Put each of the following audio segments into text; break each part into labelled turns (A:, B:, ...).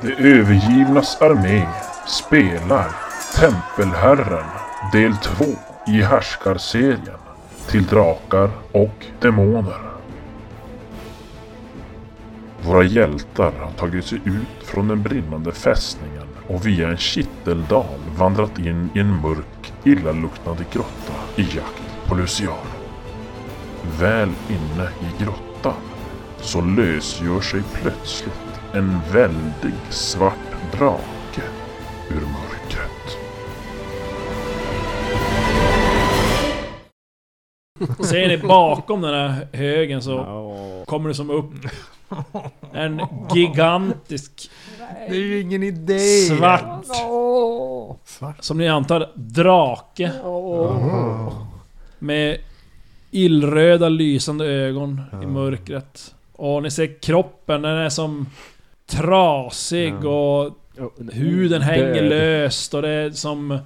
A: Det övergivnas armé spelar Tempelherren del 2 i härskarserien till drakar och demoner. Våra hjältar har tagit sig ut från den brinnande fästningen och via en kitteldal vandrat in i en mörk, illaluktande grotta i jakt på Luciano. Väl inne i grottan så lösgör sig plötsligt en väldig svart drake ur mörkret.
B: Ser ni bakom den här högen så
C: Ja.
B: kommer det som upp en gigantisk
C: Det är ju ingen idé.
B: svart,
C: Svart.
B: som ni antar, drake. Med illröda lysande ögon i mörkret. Och ni ser kroppen, den är som trasig och huden hänger löst och det är som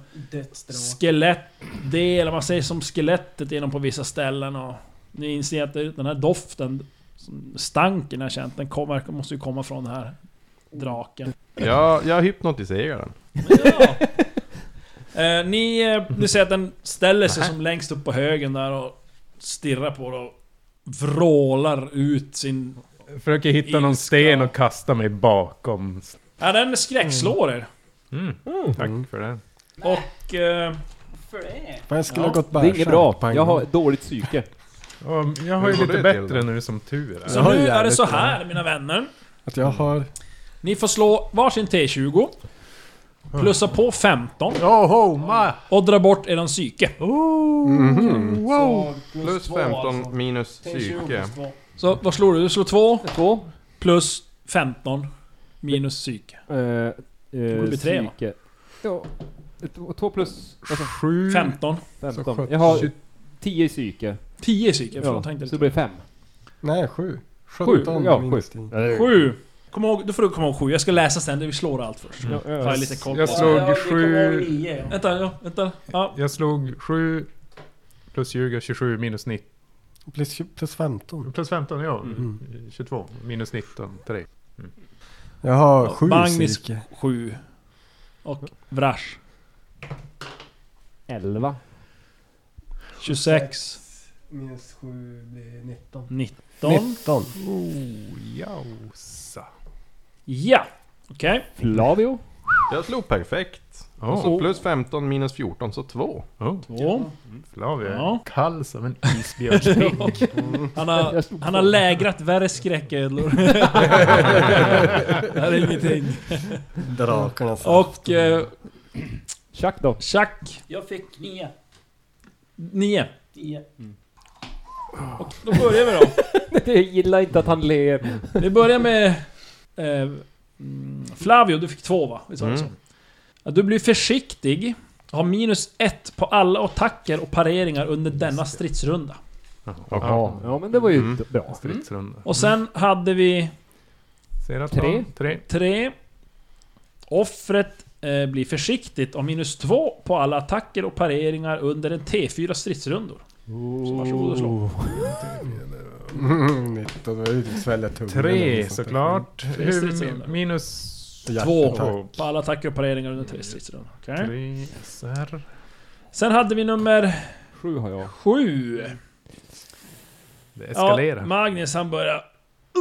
B: skelettdelar, man ser som skelettet inom på vissa ställen och ni inser att det- den här doften, som- stanken jag känt, den kom, verkar- måste ju komma från den här draken.
D: Jag, jag hypnotiserar den.
B: Ja. Eh, ni, eh, ni ser att den ställer sig som längst upp på högen där och stirrar på det och vrålar ut sin...
C: Försöker hitta någon sten och kasta mig bakom.
B: Ja, den skräckslår er.
D: Mm. Tack för det.
B: Och... Eh,
E: Fan, jag skulle
B: Ja,
E: ha gått
F: Det är inget bra. Jag har dåligt psyke.
C: Ja, Jag har ju
D: Hur går
C: lite
D: det till
C: bättre
D: då?
C: nu som tur är.
B: så nu är det så här mina vänner.
E: Att jag har...
B: Ni får slå varsin T20. Plussa på 15
C: Oh, homa!
B: och dra bort eran psyke.
C: Wow!
D: Mhm. Plus alltså. 15 minus psyke.
B: Så vad slår du? Du slår 2
F: Två.
B: plus 15 minus psyke.
F: Eh, eh,
B: borde bli tre, va?
F: psyke. Ja. Två- Två plus... Alltså,
C: 7...
B: 15.
F: 15. Jag har 10 i psyke.
B: 10 i psyke,
F: Ja,
B: förlåt. Tänkte
F: så det
B: lite. Mm.
F: blir fem.
E: Nej, sju.
F: Sju,
E: Sjutton
F: ja,
E: minus
F: sju.
E: tio.
B: Sju. Kom ihåg, då får du komma ihåg sju. Jag ska läsa sen, vi slår allt först.
F: Ja, ja.
B: Jag har lite koll på
C: Jag slog 7...
B: Vänta, ja, vänta. Ja.
C: Jag slog 7... Plus 20, 27, minus 19.
E: Plus, plus 15.
C: Plus 15, ja.
E: Mm.
C: 22. Minus 19, 3.
E: Jag har sju
B: Magnus-
E: psyke.
B: Sju. Och Vrash.
F: Elva.
B: 26.
E: Minus sju blir 19.
B: 19.
E: 19. Oh,
C: Jausa.
B: Ja! Okej.
F: Flavio.
D: Jag slog perfekt. Och
C: Åh,
D: så plus 15 minus 14, så 2.
C: oh,
B: Två.
C: Flavio.
B: Ja.
C: Kall som en isbjörn.
B: Han har, han har lägrat värre skräcködlor. det här är ingenting.
E: Drakarna sa.
B: Och eh,
F: Chuck då.
B: Chuck,
G: Jag fick nio.
B: nio.
G: nio.
F: Mm.
B: Och då börjar vi då.
F: Jag gillar inte att han ler.
B: Vi börjar med... Eh, mm, Flavio, du fick två va? Vi sa det så.
D: Mm.
B: Ja, du blir försiktig. Har minus ett på alla attacker och pareringar under denna stridsrunda.
F: Ja, ja men det var ju
D: Mm.
F: d- bra.
C: Stridsrunda.
B: Och sen hade vi
C: Ser att
F: Tre.
C: man- Tre.
B: tre. Offret eh, blir försiktigt och minus två på alla attacker och pareringar under en T4 stridsrundor. Så varsågod och slå.
E: Mm, 19. Det var ju typ svälja tungan. eller
C: Tre
E: något sånt där.
C: såklart. Hur-
B: stridsrundor.
C: Minus...
B: Två
E: Hjärtattack.
B: på alla attacker och pareringar under tre stridsrundor. Okej.
C: Tre. Så här.
B: Sen hade vi nummer
F: Sju har jag.
B: sju.
C: Det eskalerar.
B: Ja, Magnus han börjar...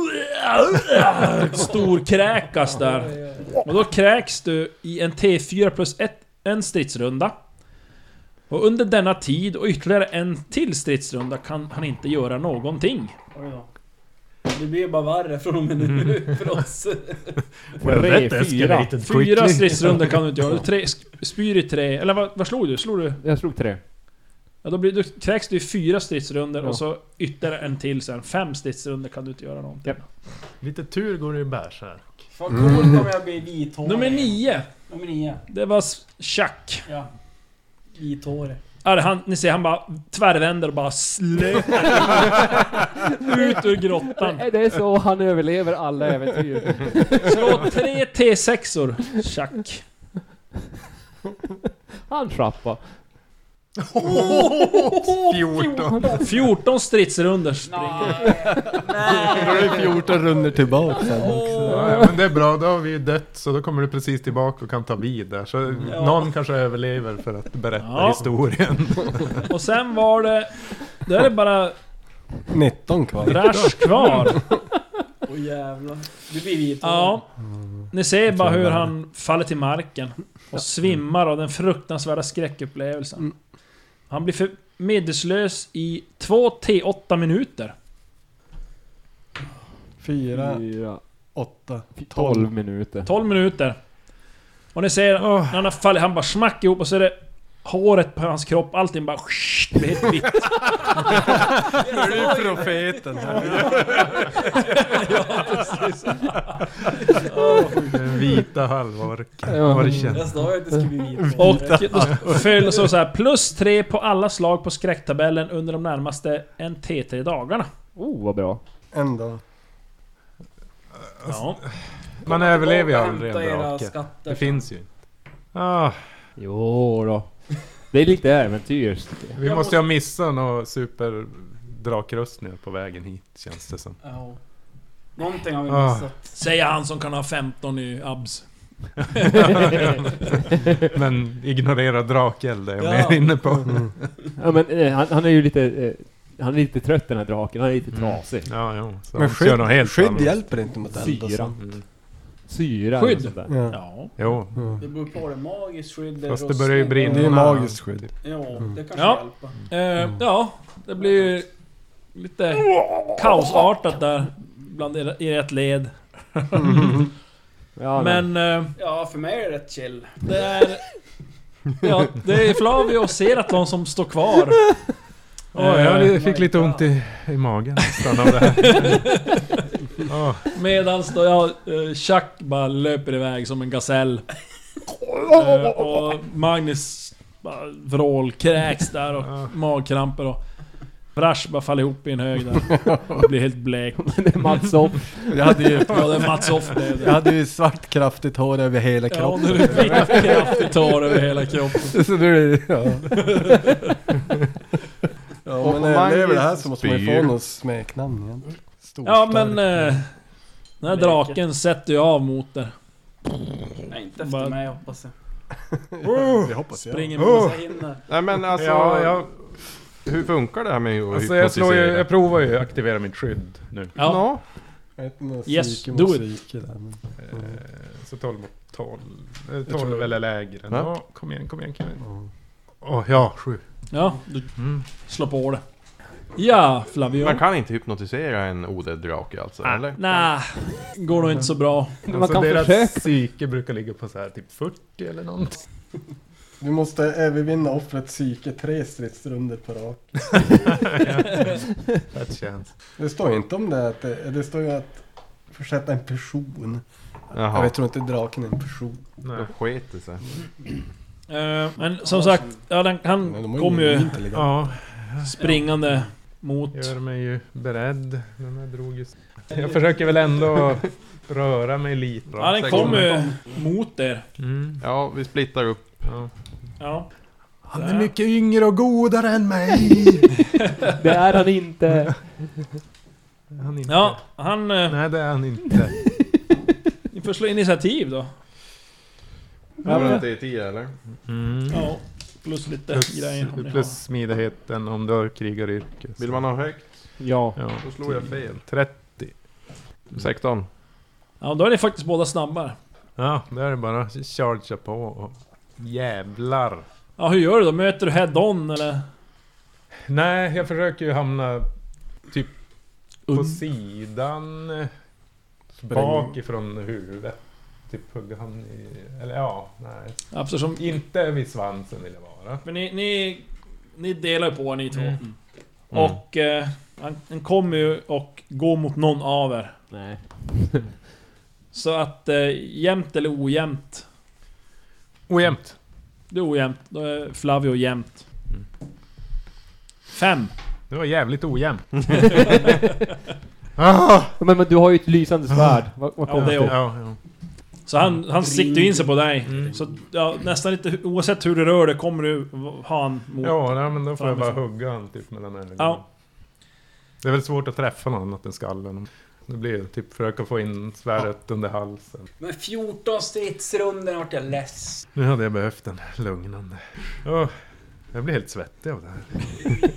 B: Storkräkas där. Och då kräks du i en T4 plus ett, en stridsrunda. Och under denna tid och ytterligare en till stridsrunda kan han inte göra någonting.
G: Oj då. Det blir bara värre från och med nu för oss.
F: Tre, fyra.
B: Fyra stridsrundor kan du inte göra. Du tre, sk- spyr i tre... Eller vad, vad slog du? Slog du?
F: Jag slog tre.
B: Ja, då, blir, då kräks du i fyra stridsrundor
F: Ja.
B: och så ytterligare en till sen. Fem stridsrundor kan du inte göra någonting.
C: Lite tur går det ju bärs här.
G: Vad coolt om jag blir vithårig.
B: Nummer nio.
G: Nummer nio.
B: Det var s- Chuck.
G: Ja. Vithårig.
B: Ja, det- han, ni ser han bara tvärvänder och bara slökar ut ur grottan.
F: Nej, Det är så han överlever alla äventyr.
B: Slå tre T6or, Chuck.
F: Han trappar.
D: 14.
B: 14 stridsrundor springer.
G: Nej.
E: Då är
G: Nej.
E: det 14 runder tillbaka sen också.
C: Ja, ja, men det är bra, då har vi ju dött så då kommer du precis tillbaka och kan ta vid där. Så
G: Ja.
C: någon kanske överlever för att berätta
B: Ja.
C: historien.
B: Och sen var det... Då är det bara
E: 19 kvar.
B: Drash kvar.
G: Åh jävlar. Du blir vit.
B: Ja. Ni ser bara hur han faller till marken och svimmar av den fruktansvärda skräckupplevelsen. Han blir för medvetslös i 2 T8 minuter.
E: 4,
F: Fyra,
E: 8,
F: tolv minuter.
B: 12 minuter. Och ni ser när han har fallit, han bara smack ihop och så är det håret på hans kropp, allting bara blir helt vitt.
E: Nu är det profeten här.
C: Den vita halvorken.
F: Ja.
C: Vad det känns.
G: Jag sa ju att det skulle bli vit.
B: Och då föll så, så här plus 3 på alla slag på skräcktabellen under de närmaste NT3 dagarna.
F: Oh, vad bra.
E: En dag.
B: Ja.
C: Man överlever ju
G: Och
C: aldrig
G: hämta
C: en
G: era
C: drake.
G: skatter.
C: Det finns ju inte. Ah,
F: Jo då. Det är lite äventyr.
C: vi måste ju ha missat några superdrakrustningar på vägen hit känns det som.
G: Ja. Någonting har vi
C: Ah.
G: missat.
B: Säger han som kan ha 15 i abs.
C: Men ignorera drakeld är jag
G: Ja.
C: mer inne på.
F: Ja, men, eh, han, han är ju lite... Eh, han är lite trött den här draken, han är
B: Mm.
F: lite trasig.
C: Ja, jo. Så
E: Men
C: han kör något
E: skydd,
C: helt
E: skydd
C: annat.
E: hjälper inte mot eld och
F: Syra.
E: sånt.
F: Syra
B: Skydd.
F: och sånt där.
E: Ja.
B: Ja.
C: Jo,
G: Det beror på, är det magiskt skydd?
C: fast det börjar ju
G: rostning?
C: brinna.
E: Det är ju magiskt skydd.
G: Ja, det kanske
B: Ja.
G: hjälper.
B: Eh, ja, det blir ju lite kaosartat där bland era, i ert led.
F: Ja,
B: Men eh,
G: Ja, för mig är det rätt chill.
B: det är... Ja, det är Flavio och Seratlon som står kvar.
C: Åh,
B: Eh,
C: jag fick lite ont i, i magen nästan av det här. Åh,
B: Medans då jag, eh, Chuck bara löper iväg som en gasell. Eh, och Magnus bara vrålkräks där och magkramper och... Brash bara faller ihop i en hög där. Och blir helt blek.
F: det är Mats Hopp.
E: Jag hade ju,
B: Ja, det är Mats Hoff det är det.
E: jag hade ju svart kraftigt hår över hela
B: Ja,
E: kroppen.
B: nu är det vitt kraftigt hår över hela kroppen.
E: Så nu är det, ja. ja
D: Och
E: men
D: om
E: när
D: man
E: det är väl det här
D: spyr-
E: så måste man ju få något smeknamn igen.
B: Ja men... Eh, den här draken sätter ju av mot er.
G: Nej, inte efter
B: Bara-
G: mig hoppas jag.
E: Det hoppas jag.
B: Springer
G: Hoppas
B: mot
G: jag hinner.
D: Nej men alltså...
C: Ja, jag,
D: Hur funkar det här med att
C: alltså jag, slår ju,
D: hypnotisera?
C: jag provar ju att aktivera mitt skydd nu.
B: Ja,
D: Ja.
E: Jag vet inte,
B: Yes,
E: psyke
B: do
E: mot
B: it.
E: psyke där. Men...
B: Mm.
C: Eh, Så 12 mot 12. Eh, 12 eller lägre.
D: Ja.
C: Ja, kom igen, kom igen. Kom igen. Åh ja, sju.
B: ja du slår på det. Ja Flavio.
D: Man kan inte hypnotisera en odöd drake alltså, eller?
B: Nej, går nog inte så bra.
F: Man
C: Alltså,
F: kan
C: deras
F: försöka.
C: psyke brukar ligga på så här typ 40 eller någonting.
E: Du måste övervinna offret psyke tre stridsrunder på rak.
C: Det känns.
E: Det står ju inte om det att det, det står ju att försätta en person.
D: Jaha,
E: Jag tror inte draken är en person.
D: då
C: Nej.
D: sket det sig.
B: Eh, men som sagt, ja, den, han
E: Men de har
B: kommer
E: ingen
B: ju
E: intelligens.
C: Ja,
B: springande mot...
C: gör mig ju beredd. Den här drog ju... Jag försöker väl ändå röra mig lite.
B: Ja, den kommer ju mot er.
C: Mm.
D: Ja, vi splittar upp.
C: Ja.
B: Ja.
E: Han är mycket yngre och godare än mig.
F: Det är han inte.
C: Han inte.
B: Ja, han... eh,
C: Nej, det är han inte.
B: Ni får slå initiativ då.
D: Var det inte 10 eller?
B: Ja, plus lite
C: Mm. Plus,
B: grejer om ni har.
C: plus smidigheten om du har krigaryrke. så-
D: Vill man ha högt?
F: Ja.
C: Ja.
D: Då slår jag fel.
C: 30.
D: 16.
B: Ja, då är ni faktiskt båda snabbare.
C: Ja, där är det bara att chargea på och... Jävlar!
B: Ja, hur gör du då? Möter du head-on eller?
C: Nej, jag försöker ju hamna på
B: Und-
C: sidan... eh, Bakifrån huvudet. Typ hugga han i... Eller ja, nej.
B: Ja, Eftersom
C: Inte vid svansen vill jag vara.
B: Men ni, ni, ni delar ju på er ni två.
C: Mm.
B: Och eh, han, han kommer ju och går mot någon av er.
F: Nej.
B: Så att eh, jämnt eller ojämnt.
C: Ojämnt.
B: Det är ojämnt. Då är Flavio jämnt.
C: Mm.
B: Fem.
C: Det var jävligt ojämnt. Ah!
F: Men, men du har ju ett lysande svärd. Vad, vad
B: Ja, det
F: konstigt.
B: är-
C: Ja, ja.
B: Så han, han siktar ju in sig på dig.
C: Mm.
B: Så ja, nästan inte, oavsett hur du rör dig kommer du ha han mot...
C: Ja, nej, men då får jag bara
B: Framifrån.
C: hugga han typ mellan ögonen.
B: alltså. Ja.
C: Det är väl svårt att träffa någon annat än skallen. Det blir ju typ försöka få in svärdet under halsen.
G: Men 14 stridsrundor vart jag less.
C: Nu hade jag behövt en lugnande. Åh, jag blir helt svettig av det här.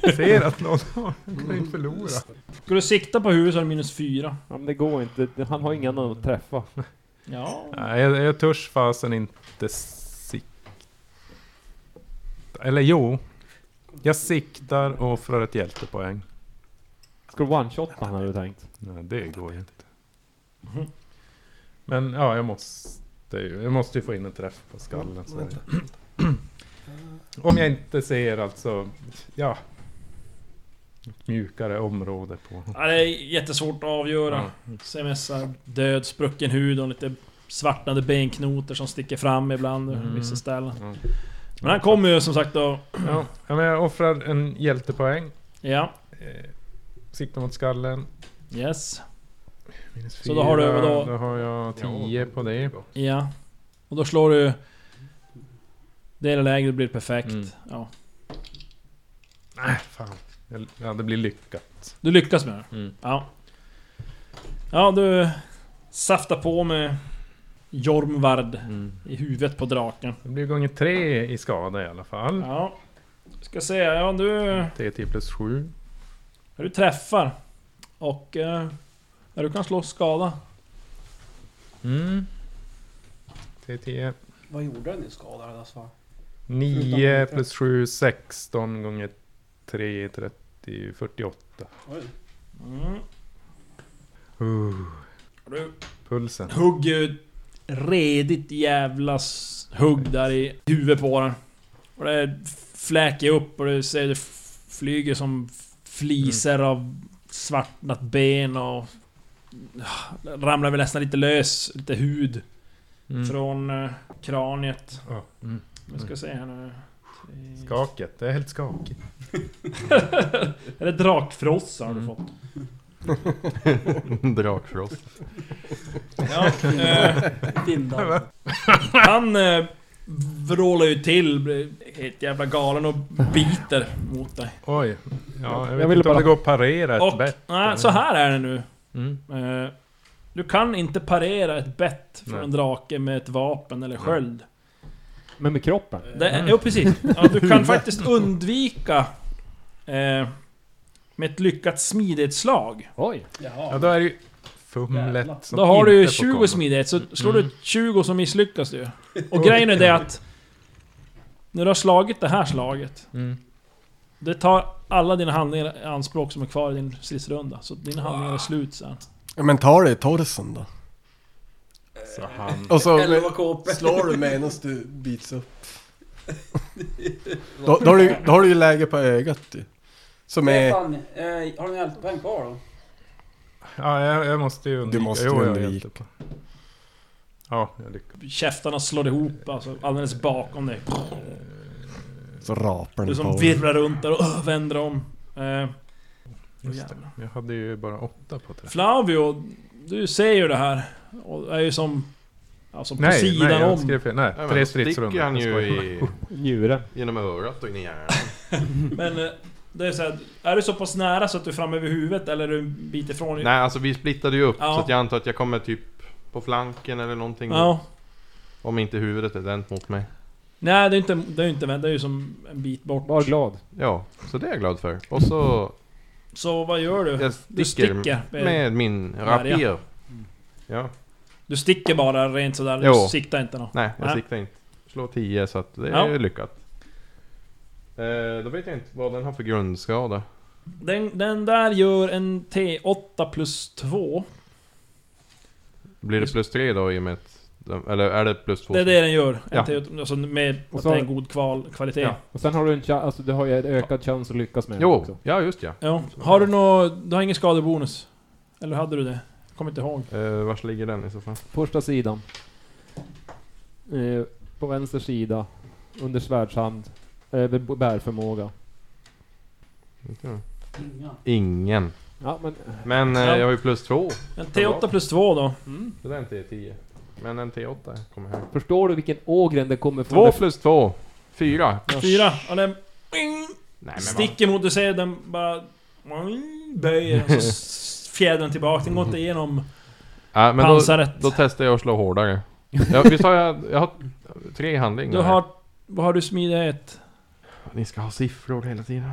C: Jag ser att någon har... Jag kan inte förlora.
B: Ska du sikta på huvudet så är det minus fyra.
F: Ja, men det går inte. Han har ingen annan att träffa.
B: Ja.
C: Nej, jag, jag törs fasen inte sikta. Eller jo. Jag siktar och offrar ett hjältepoäng.
F: Ska du one-shotta han hade du tänkt?
C: Nej, det går ju inte. Mhm. Men ja, jag måste ju, jag måste ju få in en träff på skallen. Så är det. Om jag inte ser alltså, ja. ett Mjukare område på.
B: ja, det är jättesvårt att avgöra. CMS-ar, död, sprucken hud och lite svartnade benknotor som sticker fram ibland på
C: Mm.
B: vissa ställen.
C: Mm.
B: Men han kommer ju som sagt då...
C: Ja, ja, men jag offrar en hjältepoäng.
B: Ja,
C: Eh, siktar mot skallen.
B: yes,
C: Minus
B: Så då har du
C: fyra.
B: vadå?
C: Då har jag 10 på det.
B: ja. Och då slår du... Det hela läget blir perfekt.
C: Mm.
B: Ja.
C: Nej, fan. Jag- Ja, det blir lyckat.
B: Du lyckas med det.
C: Mm.
B: Ja. Ja, du saftar på med Jormvard i huvudet på draken.
C: Det blir gånger tre i skada i alla fall.
B: Ja. Ska se, ja du...
C: Det är 10 plus 7.
B: Du träffar. Och... Eh, ja, du kan slå skada.
C: Mm. Det är 10.
G: Vad gjorde han nu skadad alltså?
C: 9 plus 7, 16 gånger 3, 30, 48.
G: Oj.
B: Mm.
C: Uh,
B: Du
C: pulsen.
B: hugger ju ett redigt jävla s- hugg där i huvudet på den. Och det fläker upp och du ser det f- flyger som fliser av svartnat ben och... ah, Ramlar väl nästan lite lös, lite hud
C: Mm.
B: från eh, kraniet.
C: Ja, mm.
B: Vi ska se här nu. Tre-
C: Skaket, det är helt skakigt.
B: Är det drakfrossa har du
C: Mm.
B: fått?
D: Drakfrost.
B: Ja, eh,
G: Vindar.
B: Han eh, vrålar ju till, blir helt jävla galen och biter mot dig.
C: Oj. Ja, jag vet
F: ville
C: inte om
F: bara-
C: det går att parera ett
B: Och,
C: bett.
B: nej, så här är det nu.
C: Mm.
B: Eh, du kan inte parera ett bett från
C: Nej. Eh,
B: en drake med ett vapen eller sköld.
F: Men med kroppen?
B: Det,
C: mm.
B: Jo precis. Ja, du kan faktiskt undvika... Eh, med ett lyckat smidighetsslag.
F: Oj!
C: Ja,
G: Jaha.
C: då är det ju fumlet som
B: Då har du ju
C: inte får
B: 20
C: komma.
B: smidighet, så slår
C: Mm.
B: du 20 så misslyckas du Och grejen är det att... När du har slagit det här slaget
C: Mm.
B: Det tar alla dina handlingar i anspråk som är kvar i din stridsrunda. Så dina handlingar är slut sen.
E: Ja, men ta det i torsen då.
C: Så han...
E: Och så
G: 11 kp.
E: slår du medan du bits upp. Då, då, har du, då har du ju läge på ögat ju. Som är...
G: Fan, eh, har du en hjältepoäng kvar då?
C: Ja, jag, jag måste ju undvika.
E: måste
C: jag
E: undvika.
C: vet inte. Ja, jag lyckas.
B: Käftarna slår ihop alltså, alldeles bakom dig.
E: Så rapar
B: Du
E: den
B: som
E: på
B: virvlar runt där och öh, vänder om. Eh,
C: Just det.
B: jävlar.
C: Jag hade ju bara åtta på det.
B: Flavio, du ser ju det här. Och är ju som... Alltså på
C: Nej,
B: sidan
C: nej, jag
B: om.
C: skrev fel. Nej,
D: Nej, men
C: tre
D: då sticker
C: stridsrundor.
D: han ju
C: Jag skojar.
D: i,
F: Njure.
D: genom örat och in i hjärnan.
B: Men eh, det är så här, Är du så pass nära så att du är framme över huvudet eller är du en bit ifrån?
D: Nej, alltså vi splittade ju upp
B: Ja.
D: så att jag antar att jag kommer typ på flanken eller någonting.
B: Ja.
D: Om inte huvudet är vänt mot mig.
B: Nej, det är inte... Det är ju inte vänt. Det är ju som en bit bort.
F: Var glad.
D: Ja, så det är jag glad för. Och så...
B: Så vad gör du?
D: Jag
B: Du sticker.
D: med min
B: Värja.
D: rapier. Ja,
B: Du sticker bara rent sådär, du
D: Jo.
B: siktar inte något.
D: nej jag
B: Nej.
D: siktar inte. Slå 10 så att det
B: Ja.
D: är lyckat. Eh, då vet jag inte vad den har för grundskada.
B: Den, den där gör en T8 plus 2.
D: Blir det plus 3 då i och med att... de- Eller är det plus 2?
B: Det är det den gör. En
D: Ja.
B: T8, alltså med
F: Och
B: att
F: så-
B: det är en god kval, kvalitet. Ja.
D: Ja.
F: Och sen har du en chans, alltså du har ju en ökad chans att lyckas med den
D: Jo,
F: också.
D: ja just ja.
B: Har du nå... Du har ingen skadebonus? Eller hade du det? Kommer inte ihåg.
D: Eh, vars ligger den i så fall?
F: Första sidan. Eh, på vänster sida. Under svärdshand. Över b- bärförmåga.
D: Inte.
G: Inga.
D: Ingen.
F: Ja men...
D: Men eh,
B: Ja.
D: jag har ju plus 2.
B: En T8 plus 2 då.
D: Så den är 10. Men en T8 kommer här.
F: Förstår du vilken ågren den kommer från?
D: Två plus två. Fyra.
B: Fyra, och den
D: Nej, men vad-
B: sticker mot, du ser den bara... Böjer, och så s- fjädern tillbaka, den går inte igenom
D: Ja, men då,
B: pansaret.
D: då testar jag att slå hårdare. Ja, visst har jag, jag har tre handlingar.
B: du har... Vad har du smidighet?
D: Ni ska ha siffror hela tiden.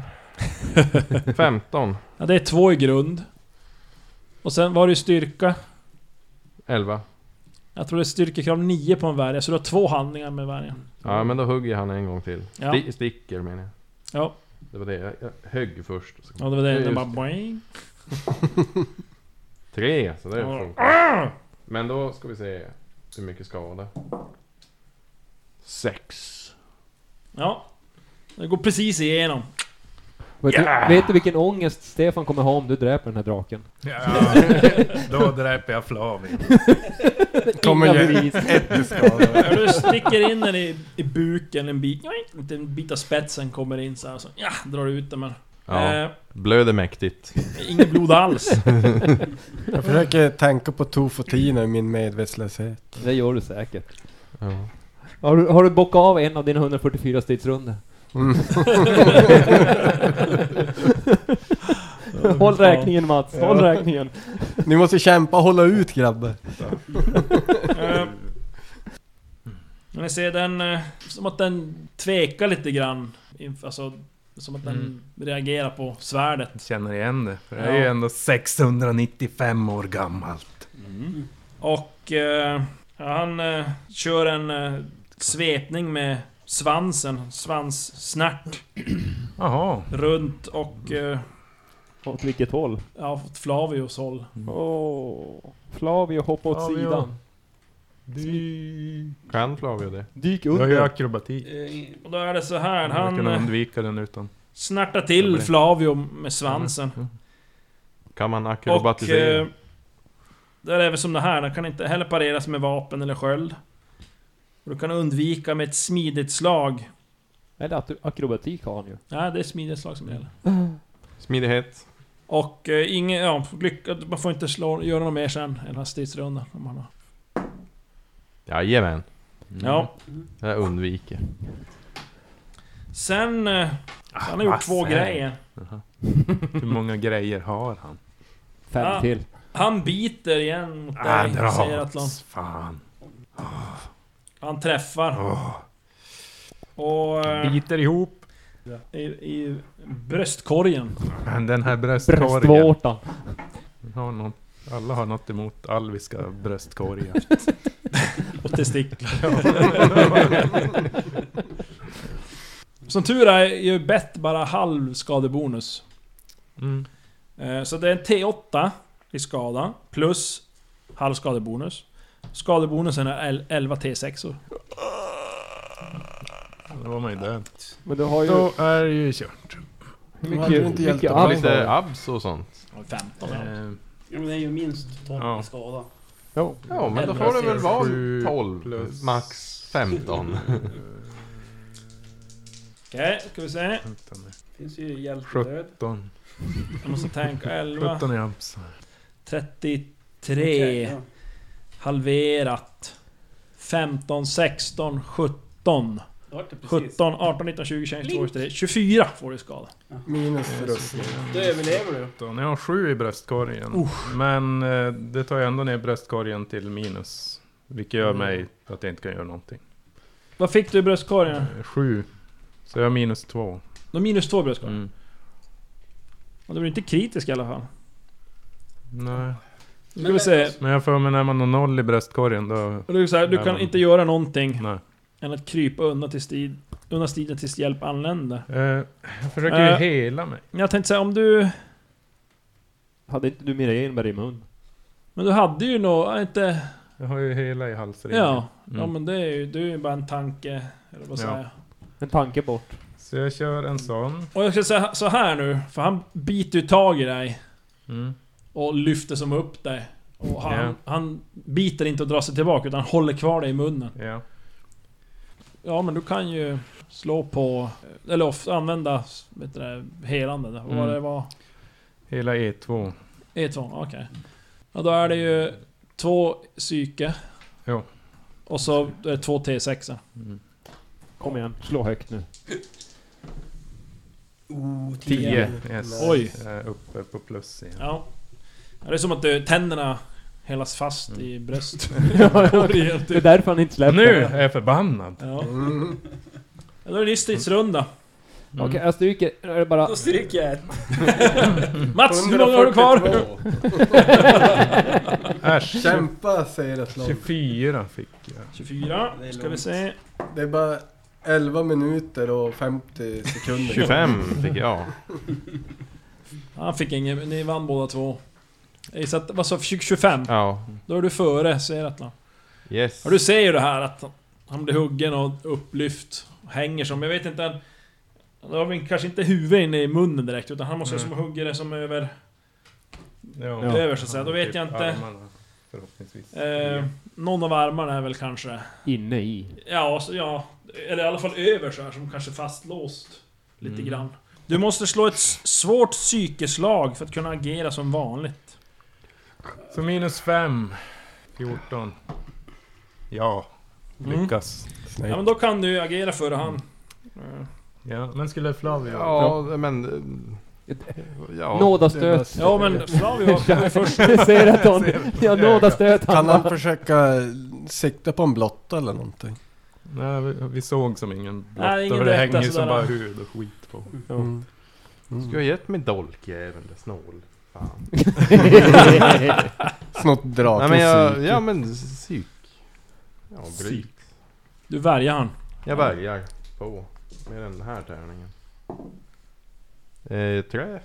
D: 15.
B: Ja, det är två i grund. Och sen var det ju styrka.
D: 11.
B: Jag tror det är styrkekrav 9 på en värja, så du har två handlingar med värjan.
D: Ja men då hugger han en gång till.
B: Ja.
D: Sti- sticker menar jag.
B: Ja.
D: Det var det, jag, jag högg först. och så-
B: Ja, det var det. Den
D: Just.
B: bara... boing.
D: Tre, så det
B: Ja.
D: funkar. Men då ska vi se hur mycket skada. Sex.
B: Ja. Det går precis igenom.
F: Vet, du, vet du vilken ångest Stefan kommer ha om du dräper den här draken?
C: Ja, då dräper jag Flavio.
E: Kommer
F: Inga
E: ge
F: bevis.
E: ett i skada.
B: Ja, Du sticker in den i, i buken en bit. Oink, inte En bit av spetsen kommer in så här, så ja, drar du ut den men...
D: Ja.
B: Eh,
D: Blöder mäktigt.
B: inget blod alls.
E: Jag försöker tänka på tofotina i min medvetslöshet.
F: Det gör du säkert.
D: Ja.
F: Har du, har du bockat av en av dina 144 stridsrunder?
E: Mm.
F: Håll räkningen Mats, håll räkningen.
E: Ni måste kämpa och hålla ut grabbar.
B: Eh, Men ni ser den, eh, som att den tvekar lite grann. Inf- Alltså, som att den reagerar på svärdet.
C: Jag känner igen det. För jag
B: Ja.
C: är ju ändå 695 år gammal.
B: Och eh, ja, han eh, kör en eh, svepning med svansen, svanssnärt
C: Jaha.
B: runt och... Eh,
F: Åt vilket håll?
B: ja, åt Flavios håll.
F: Åh, Flavio hoppa åt
C: Flavio.
F: sidan.
C: Du...
D: Kan Flavio det?
F: Dyk
C: Jag har
F: under.
C: ju akrobatik.
G: Eh,
B: Och då är det så här,
C: Jag
B: han
C: kunde
B: eh,
C: undvika den utan...
B: snärtar till Flavio med svansen.
D: Kan man
B: Och...
D: akrobatisera?
B: Eh, det är även som det här, den kan inte heller pareras med vapen eller sköld. Och du kan undvika med ett smidigt slag.
F: Eller att du, akrobatik har han ju.
B: Nej, det är smidigt slag som gäller.
D: Smidighet?
B: Och eh, ingen, ja, lyckad, man får inte slå, göra något mer sen, än den här stridsrundan. Om man har.
D: Jajamän.
B: Ja.
D: Det här undviker.
B: Sen... eh, Han har gjort
C: vad
B: två
C: fan.
B: grejer.
C: Hur många grejer har han?
F: Fem
B: Ah.
F: till.
B: Han biter igen mot dig,
C: Ah,
B: säger Atlan.
C: dras. Fan.
B: Han träffar. Och... eh,
C: Biter ihop.
B: I, i bröstkorgen.
C: Men den här bröstkorgen.
F: Bröstvårtan.
C: Har något, alla har något emot alviska bröstkorgar.
B: Och testiklar. Som tur är, är ju bett bara halv skadebonus.
C: Mm.
B: Eh, Så det är en T8 i skada, plus halv skadebonus. Skadebonusen är el- 11 T6or.
C: Då var man ju död.
F: Men du har ju
C: Då är det ju kört.
E: hade du
F: mycket,
E: inte hjälpt
F: mycket
E: dem
D: Och
E: Ja,
F: abs.
E: alls. det
D: lite
E: var
D: abs och sånt.
B: 15 ja.
C: Eh,
G: Ja, men det är ju minst 12
C: Ja.
G: i skada.
F: Ja.
D: Ja men då får det väl vara 12 plus max 15.
B: Okej, ska vi se.
G: Finns ju hjältedöd.
C: 17.
B: Jag måste tänka 11.
C: 17 i abs.
B: 33.
G: Okej, ja.
B: Halverat. 15, 16, 17.
G: Då vart det precis.
B: 17, 18, 19, 20, 21, 22, 23. 24 får du i skada.
E: Minus rustning.
G: Då överlever du.
C: Då, Jag har 7 i bröstkorgen. Men eh, det tar ju ändå ner bröstkorgen till minus. Vilket
B: Mm.
C: gör mig att jag inte kan göra någonting.
B: Vad fick du i bröstkorgen?
C: Mm. 7. Så jag har minus 2.
B: Du har minus två i bröstkorgen. Och Du blir inte kritisk i alla fall.
C: Nej.
B: Då ska vi se.
C: Men alltså- jag får mig när man har 0 i bröstkorgen då...
B: Och det är så här, du kan inte göra någonting
C: Nej.
B: än att krypa undan till strid, undan striden tills hjälp anländer.
C: Eh, jag försöker ju
B: Eh.
C: hela mig.
B: Men jag tänkte säga om du...
F: Hade inte du Mira Enberg i mun?
B: Men du hade ju nog... Inte...
C: Jag har ju hela i halsringen.
B: Ja. Ja
C: Mm.
B: men det är ju... Du är ju bara en tanke. Eller vad säger
C: Ja.
B: jag?
F: En tanke bort.
C: Så jag kör en sån.
B: Och jag ska säga så här nu, för han biter ju tag i dig
C: Mm.
B: och lyfter som upp dig. Och han,
C: Ja.
B: han biter inte och drar sig tillbaka utan håller kvar dig i munnen.
C: Ja.
B: Ja men du kan ju slå på... Eller ofta använda vet du, det, helande där. Vad var
C: Mm.
B: det var? E
C: Hela E E2.
B: E2, okej. Ja då är det ju två psyke.
C: Jo.
B: Och så är det två T6.
F: Kom igen, slå högt nu.
G: Oh,
C: Tio. Yes.
B: Oj.
C: Jag är uppe på plus igen.
B: Ja. Ja, Det är som att eh, tänderna hälas fast i
C: Mm.
B: bröstet.
F: det är därför han inte släpper.
C: Nu är jag förbannad.
B: Ja. Ja, Då är det ny stridsrunda. Mm.
F: Okej, jag stryker. Nu är det bara...
G: Då stryker jag ett.
B: Mats, hur många har du kvar?
E: 142.
C: Äsch.
E: Kämpa säger ett lag.
C: 24 fick jag.
B: 24, ska vi se.
E: Det är bara 11 minuter och 50 sekunder.
D: 25 fick jag.
B: Han fick ingen, ni vann båda två. Jag gissar att- Vad sa 25?
D: Ja.
B: Då är du före Seratlan.
D: Yes.
B: Ja, du ser ju det här att han blir huggen och upplyft. Och hänger som, jag vet inte... han- Han har väl kanske inte huvudet inne i munnen direkt utan han måste ju
C: Mm.
B: som hugga det som över...
C: Ja. Typ
B: Över, så att säga. Då vet jag inte.
C: Armarna, förhoppningsvis.
B: Eh, någon av armarna är väl kanske...
F: Inne i.
B: Ja, så, ja. Eller i alla fall över så här som kanske fastlåst. Lite
D: Mm.
B: grann. Du måste slå ett s- svårt psykeslag för att kunna agera som vanligt.
C: Så minus 5. 14. Ja,
B: Mm.
C: lyckas.
B: Ja men då kan du agera före han.
C: Ja, men skulle Flavio...
D: Ja, men... eh, Ja.
F: Nådastöt.
B: Ja men Flavio var först.
F: Seraton. Ja, nådastöt.
E: Kan
F: Han
E: han försöka sikta på en blotta eller någonting?
C: Nej, vi, vi såg som ingen blotta.
B: Nej, ingen
C: för det
B: direkt,
C: hänger ju
B: alltså,
C: som
B: där.
C: bara hud och skit på.
E: Mm.
D: Ska jag gett mig dolkjävel, snål. Fan.
E: Snott drake
D: Nej men jag...
E: psyke.
D: Ja men psyk. Ja,
B: Psyk.
D: psyk.
B: Du värjar han.
D: Jag väljer på med den här tärningen. Eh, träff.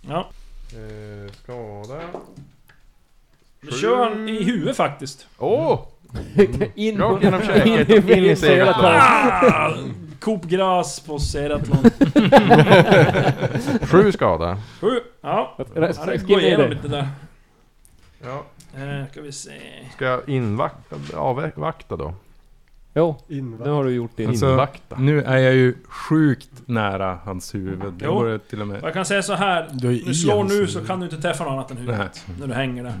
B: Ja.
D: Eh, skada.
B: Då kör han i huvudet faktiskt.
D: Åh!
F: In
D: Rakt genom
F: in
D: käket
F: i-
D: och in
F: in i
D: i
F: Seratlon.
D: Seratlon.
B: Ah! Kopgras på Seratlon.
D: Sju skada.
B: Sju. Ja. Han
F: Skriv
B: går
F: ner
B: Alltså, igenom
F: det.
B: lite där.
D: Ja.
B: Eh, ska vi se.
D: Ska jag invakta, avvakta då?
F: Jo, nu
E: Invakt.
F: har du gjort din.
C: Alltså-
D: Invakta?
C: Nu är jag ju sjukt nära hans huvud. Det
B: Jo.
C: vore till och med...
B: Jag kan säga så här.
E: Du är i
B: Du slår
E: hans
B: nu
E: huvud.
B: så kan du inte träffa något annat än
C: alltså. Nej. Mm.
B: huvudet. När du hänger där.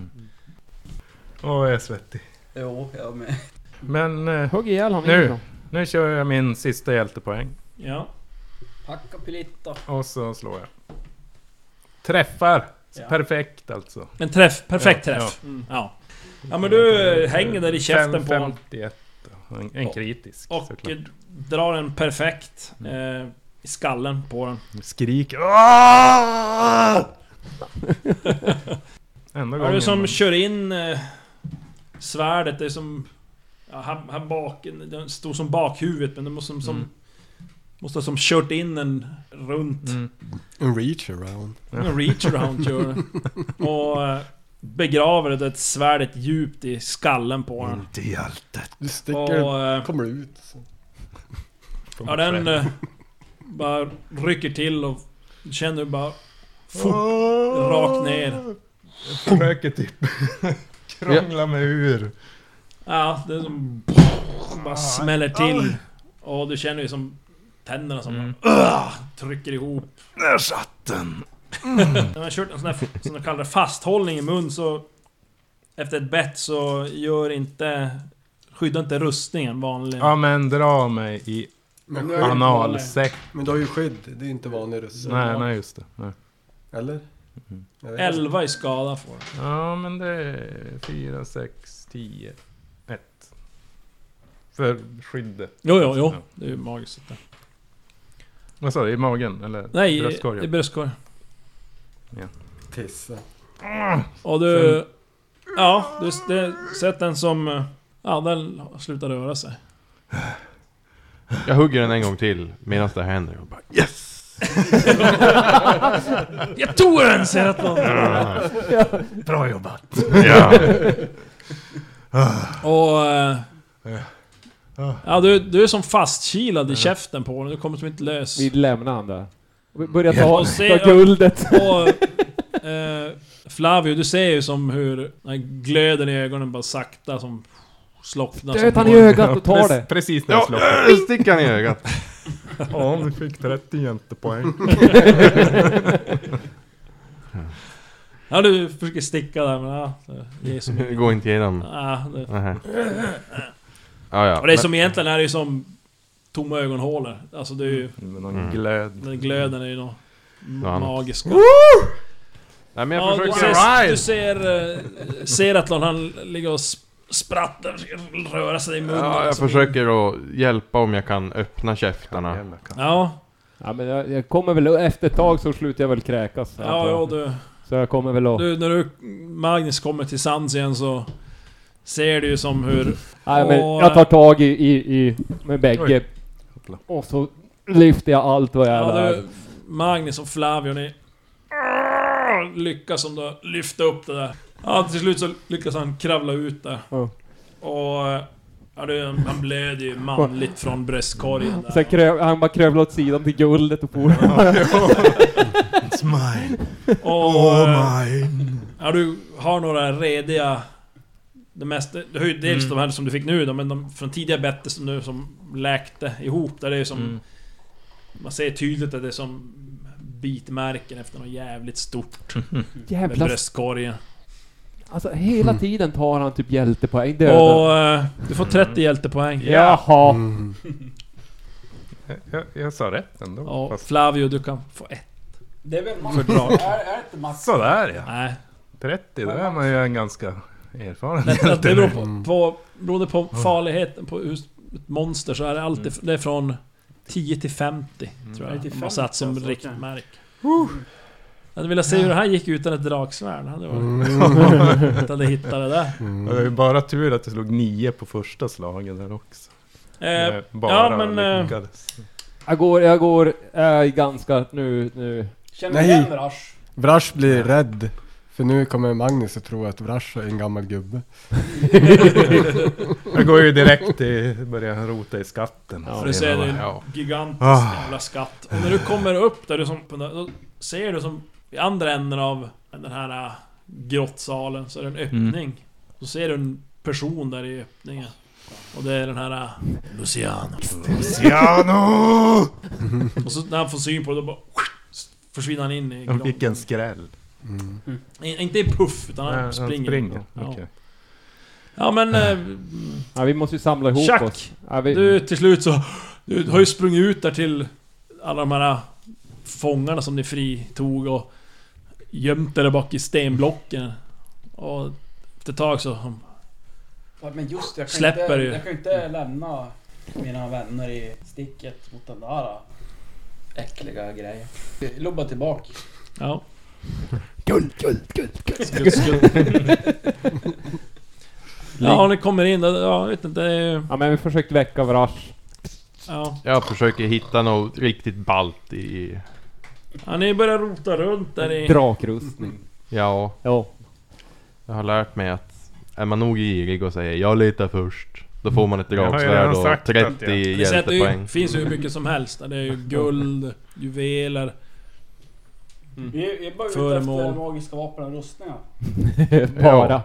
C: Åh, jag är svettig.
G: Jo, jag med.
C: Men eh,
F: Hugg ihjäl honom
C: Nu.
F: inifrån.
C: nu kör jag min sista hjältepoäng.
B: Ja.
G: Hacka pilitta.
C: Och så slår jag. Träffar!
G: Ja.
C: Perfekt alltså.
B: En träff. Perfekt
C: Ja, Mm.
B: träff. Ja. ja. men du eh, hänger där i käften
C: Fem-
B: på honom.
C: 51. En, en kritisk
B: Och
C: såklart. Mm.
B: eh, drar en perfekt. Eh, i skallen på den.
C: Skrik. Aaah! Enda
B: Ja, det är
C: gången.
B: som
C: man-
B: kör in eh, svärdet, det är som... Ja, här, här bak, den stod som bakhuvudet men det måste som...
C: Mm.
B: Måste ha som kört in en runt.
C: Mm.
E: En reach around.
B: En reach around gör det. Och eh, begraver det svärdet djupt i skallen på den.
C: Inte i hjältet.
E: Du sticker,
B: Och... Eh,
E: kommer ut. Så.
B: ja den... Eh, bara rycker till och känner bara... Fort, rakt ner.
C: Jag försöker typ krångla mig ur.
B: Ja, det är som...
C: Ah,
B: Bara smäller till. Och du känner ju som... Tänderna som...
C: Mm.
B: trycker ihop.
C: Där satt den! Mm.
B: När man kört en sån här, som de kallar det, fasthållning i mun så... Efter ett bett så gör inte... Skyddar inte rustningen vanligen.
C: Ja men dra mig i
E: Men,
C: analsäck.
E: men du har ju skydd, det är inte vanlig russe.
C: Nej, nej just det. Nej.
E: Eller? Jag vet inte.
B: 11 i skada får du.
C: Ja men det är 4, 6, 10, 1. För skyddet.
B: Jo, jo, jo. Det är ju magiskt. det.
C: Vad sa du? I magen? Eller
B: Nej, i- i
C: bröstkorgen?
B: bröstkorgen.
E: Tissa.
B: Och du... Ja, du det, sett den som... eh, Ja, den slutar röra sig.
D: Jag hugger den en gång till medan det händer. Jag bara, yes!
B: Jag tog den! Ser att någon.
C: Bra jobbat!
D: Ja.
B: Och... eh, Ja, du, du är som fastkilad i käften på den. Du kommer som inte lös.
F: Vi lämnar han där. Och vi börjar ta,
B: Och se-
F: ta guldet.
B: Och eh, Flavio, du ser ju som hur den här glöden i ögonen bara sakta som slocknar. som
F: Stöt han i
B: går.
F: ögat och tar det.
C: Precis när jag
D: ja.
C: slog.
D: Stickan i ögat.
C: Ja, du fick 30 jämtepoäng.
B: Ja, du försöker sticka där men ja, det ger så mycket.
D: Gå inte igenom.
B: Ja, det,
D: Nähä. Ja, ja.
B: Och det är
D: Men-
B: som egentligen är det ju som tomma ögonhålor. Alltså det är ju...
C: Med någon glöd.
B: Den glöden är ju något
D: annat.
B: magiskt.
D: Nej men jag
B: Ja, du
D: försöker...
B: ser, du ser, eh, ser att någon han ligger och sp- sprattlar, röra sig i munnen.
D: Ja, jag
B: Alltså,
D: försöker att hjälpa om jag kan öppna käftarna.
C: Jävla katt.
B: Ja,
F: Ja, men jag, jag kommer väl, efter ett tag så slutar jag väl kräkas.
B: ja, ja du,
F: Så jag kommer väl att...
B: du... När du, Magnus kommer till sans igen så ser du ju som hur...
F: Nej, men
B: Och-
F: jag tar tag i, i, i med bägge. Och så lyfter jag allt vad jag
B: Ja,
F: är.
B: du, Magnus och Flavio, ni... Lyckas som då lyfta upp det där. Ja, till slut så lyckas han kravla ut där.
F: Ja.
B: Och... eh, Ja, du, han blöder ju manligt från bröstkorgen där.
F: Sen kröv, han bara krövlar åt sidan till guldet och for.
H: It's mine.
B: Och,
H: Oh
B: eh,
H: mine.
B: Ja, du har några rediga... Det mesta, du har ju dels de här som du fick nu då, men de från tidigare bättre som nu som läkte ihop där det är som... Man ser tydligt att det är som bitmärken efter något jävligt stort med Mm.
F: Jävlar.
B: bröstkorgen.
F: Alltså hela tiden tar han typ hjältepoäng. Döda.
B: Och eh, du får 30 hjältepoäng.
F: Jaha.
C: Jag, jag sa rätt ändå.
B: Och
C: Fast
B: Flavio, du kan få ett.
G: Det är väl max?
B: Fördrag.
G: Är, är det inte max?
C: sådär ja.
B: Nej.
C: 30, då är man ju en ganska erfaren
B: Det, det
C: hjälte
B: beror på,
C: nu.
B: på, beroende på farligheten på hur ett monster så är det alltid det är från 10 till 50 tror jag.
G: 10 till
B: Man satt som
G: 50, alltså,
B: riktmärke. Jag hade velat se hur det här gick utan ett draksvärd. Det hade
G: Mm.
B: varit
E: Mm.
B: att hade hittat det där.
C: Det var ju bara tur att det slog 9 på första slagen där också.
B: Eh,
C: Det bara
B: men, eh,
C: lyckades.
F: Jag går, jag går, jag är ganska nu, nu.
G: Känner du
E: Nej.
G: igen Rush?
E: Vrash blir rädd. För nu kommer Magnus att tro att Vrash är en gammal gubbe.
C: Jag går ju direkt till... Börjar rota i skatten.
F: Ja.
B: för du ser det är en
D: Ja.
B: gigantisk
C: Ah.
B: jävla skatt. Och när du kommer upp där, du som, på den- då ser du som i andra änden av den här äh, grottsalen så är det en öppning. Så ser du en person där i öppningen. Och det är den här... äh, Luciano.
C: Luciano!
B: Och så när han får syn på det, då bara... Försvinner han in i
C: Ja, Vilken
B: grotten.
C: skräll.
B: In- Inte i puff, utan
C: Nej,
B: han springer.
C: springer.
B: Ja.
C: Okej.
B: ja men... Eh,
F: Ja, vi måste ju samla ihop
B: Tjack!
F: oss. Ja, vi,
B: du, till slut så... Du har ju sprungit ut där till alla de här fångarna som ni fritog och gömt er där bak i stenblocken. Och efter ett tag så...
G: Ja, men just det, jag kan
B: Släpper Mm.
G: inte,
B: ju.
G: Jag kan ju inte lämna mina vänner i sticket mot den där äh, äckliga grejen. Lobba tillbaka.
B: Ja. Ja, och ni kommer in där, ja, jag vet inte, det är,
F: ja, men vi försökte väcka Vrash.
B: ja.
D: Jag försöker hitta något riktigt balt i...
B: ja, ni börjar rota runt där i...
F: Drakrustning.
D: Ja,
F: Ja.
D: jag har lärt mig att är man nog girig och säger jag letar först. Då får man ett
C: Jag har ju
D: dragsvärd
C: redan sagt
D: och
C: att jag-
D: 30
B: Ni ser att det är ju-
D: hjältepoäng.
B: finns ju hur mycket som helst. där. Det är ju guld, juveler.
G: Vi vi är bara ute
B: Föremål.
G: efter magiska vapen och rustningar.
F: Bara.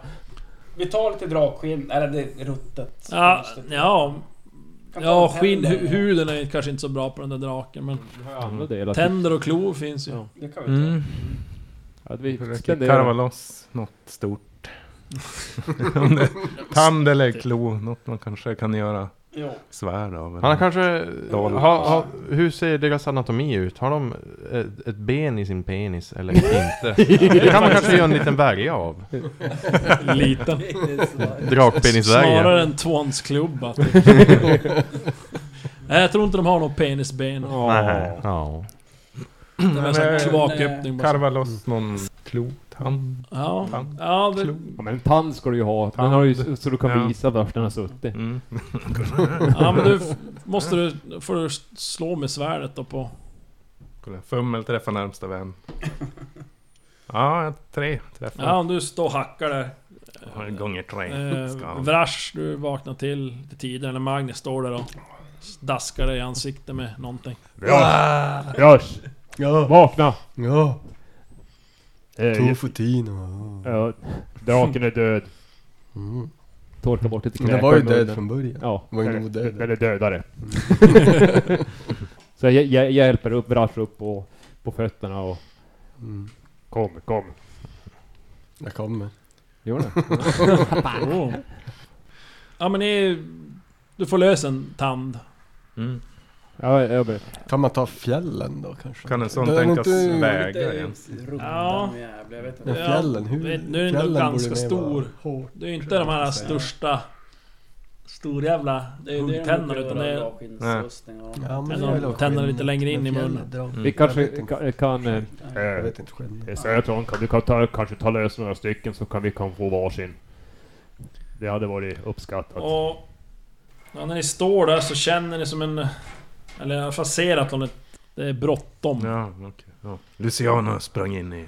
G: Vi tar lite dragskinn, eller det är ruttet.
B: Ja,
G: Just det.
B: ja,
G: Kan ta
B: ja
G: en
B: skinn,
G: tänder.
B: hu- huden är kanske inte så bra på den där draken men
F: Andra delar.
B: tänder och klor finns ju.
F: Ja.
G: Det kan vi ta.
C: Mm.
F: Att vi
C: Försöker karva
F: spenderar.
C: loss något stort. Om det är Tand eller klo, något man kanske kan göra
G: Jo.
C: svärd av.
D: Han har
C: eller-
D: kanske...
C: Dol.
D: Ha, ha, hur ser deras anatomi ut? Har de eh, ett, ett ben i sin penis eller inte? Det kan man kanske göra en liten värja av.
B: Liten.
D: Drakpenisvärja.
B: Snarare en tvånsklubba. typ. Nej jag tror inte de har något penisben.
D: Nej. Ja.
B: Det är en sån
C: men-
B: kloaköppning bara.
C: Karva loss någon klo, tand.
B: Ja, ja det,
C: Klo.
F: Ja, men en tand ska du ju ha. Den har ju, så du kan
C: Ja.
F: visa vart den har suttit.
C: Mm.
B: ja men du f- måste du... får du slå med svärdet då på...
C: Kolla, Fummel träffar närmsta vän. Ja, jag- tre träffar.
B: Ja om du står och hackar där.
C: Ja, Gånger tre. ska
B: Eh,
C: han.
B: Vrash, du vaknar till lite tidigare när Magnus står där och daskar dig i ansiktet med någonting.
F: Görs!
E: Ja,
F: Vakna!
E: ja.
F: Eh,
E: Tofutino.
F: ja, draken är död.
E: Mm.
F: Torka bort lite
E: Den
F: kräkor
E: var ju
F: i
E: död
F: munnen.
E: från början.
F: Ja.
E: var ju
F: eller-
E: nog död.
F: Eller dödare. så jag, jag, jag hjälper upp, Vrash upp på, på fötterna och...
E: Mm.
F: Kom, kom.
E: Jag kommer.
F: Gör det?
B: Oh. Ja men ni Du får lös en tand.
C: Mm.
F: Ja, jag börjar.
E: Kan man ta fjällen då kanske?
C: Kan en sån
E: Den är
C: tänkas
E: inte-
C: väga igen?
B: Ja.
G: Runda med jävla, jag vet
E: Men
G: inte.
B: Ja,
E: fjällen, hur?
B: vet- nu är den
E: fjällen
B: nog ganska
E: borde mer
B: stor.
E: vara hård.
B: Det är ju inte de här största... Storjävla
G: Det är ju det de
B: huggtänderna
G: brukar
B: utan det
G: göra,
B: är...
G: avskinnsussning och...
E: Ja,
B: Men
E: men det
B: de
E: är väl
B: tänder
E: skinn.
B: lite längre in
E: Men
B: i
E: fjällen
B: munnen.
E: drar-
C: Mm.
F: Vi
E: Jag vet
F: kanske
E: inte.
F: kan... kan eh,
E: Jag vet inte skillnaden.
I: Jag säger till honom, kan du kan ta, kanske ta lös några stycken så kan vi kan få varsin. Det hade varit uppskattat.
B: Och... Ja, när ni står där så känner ni som en... Eller i alla fall ser att de är, det är bråttom.
C: Ja, okej. ja.
H: Luciano sprang in i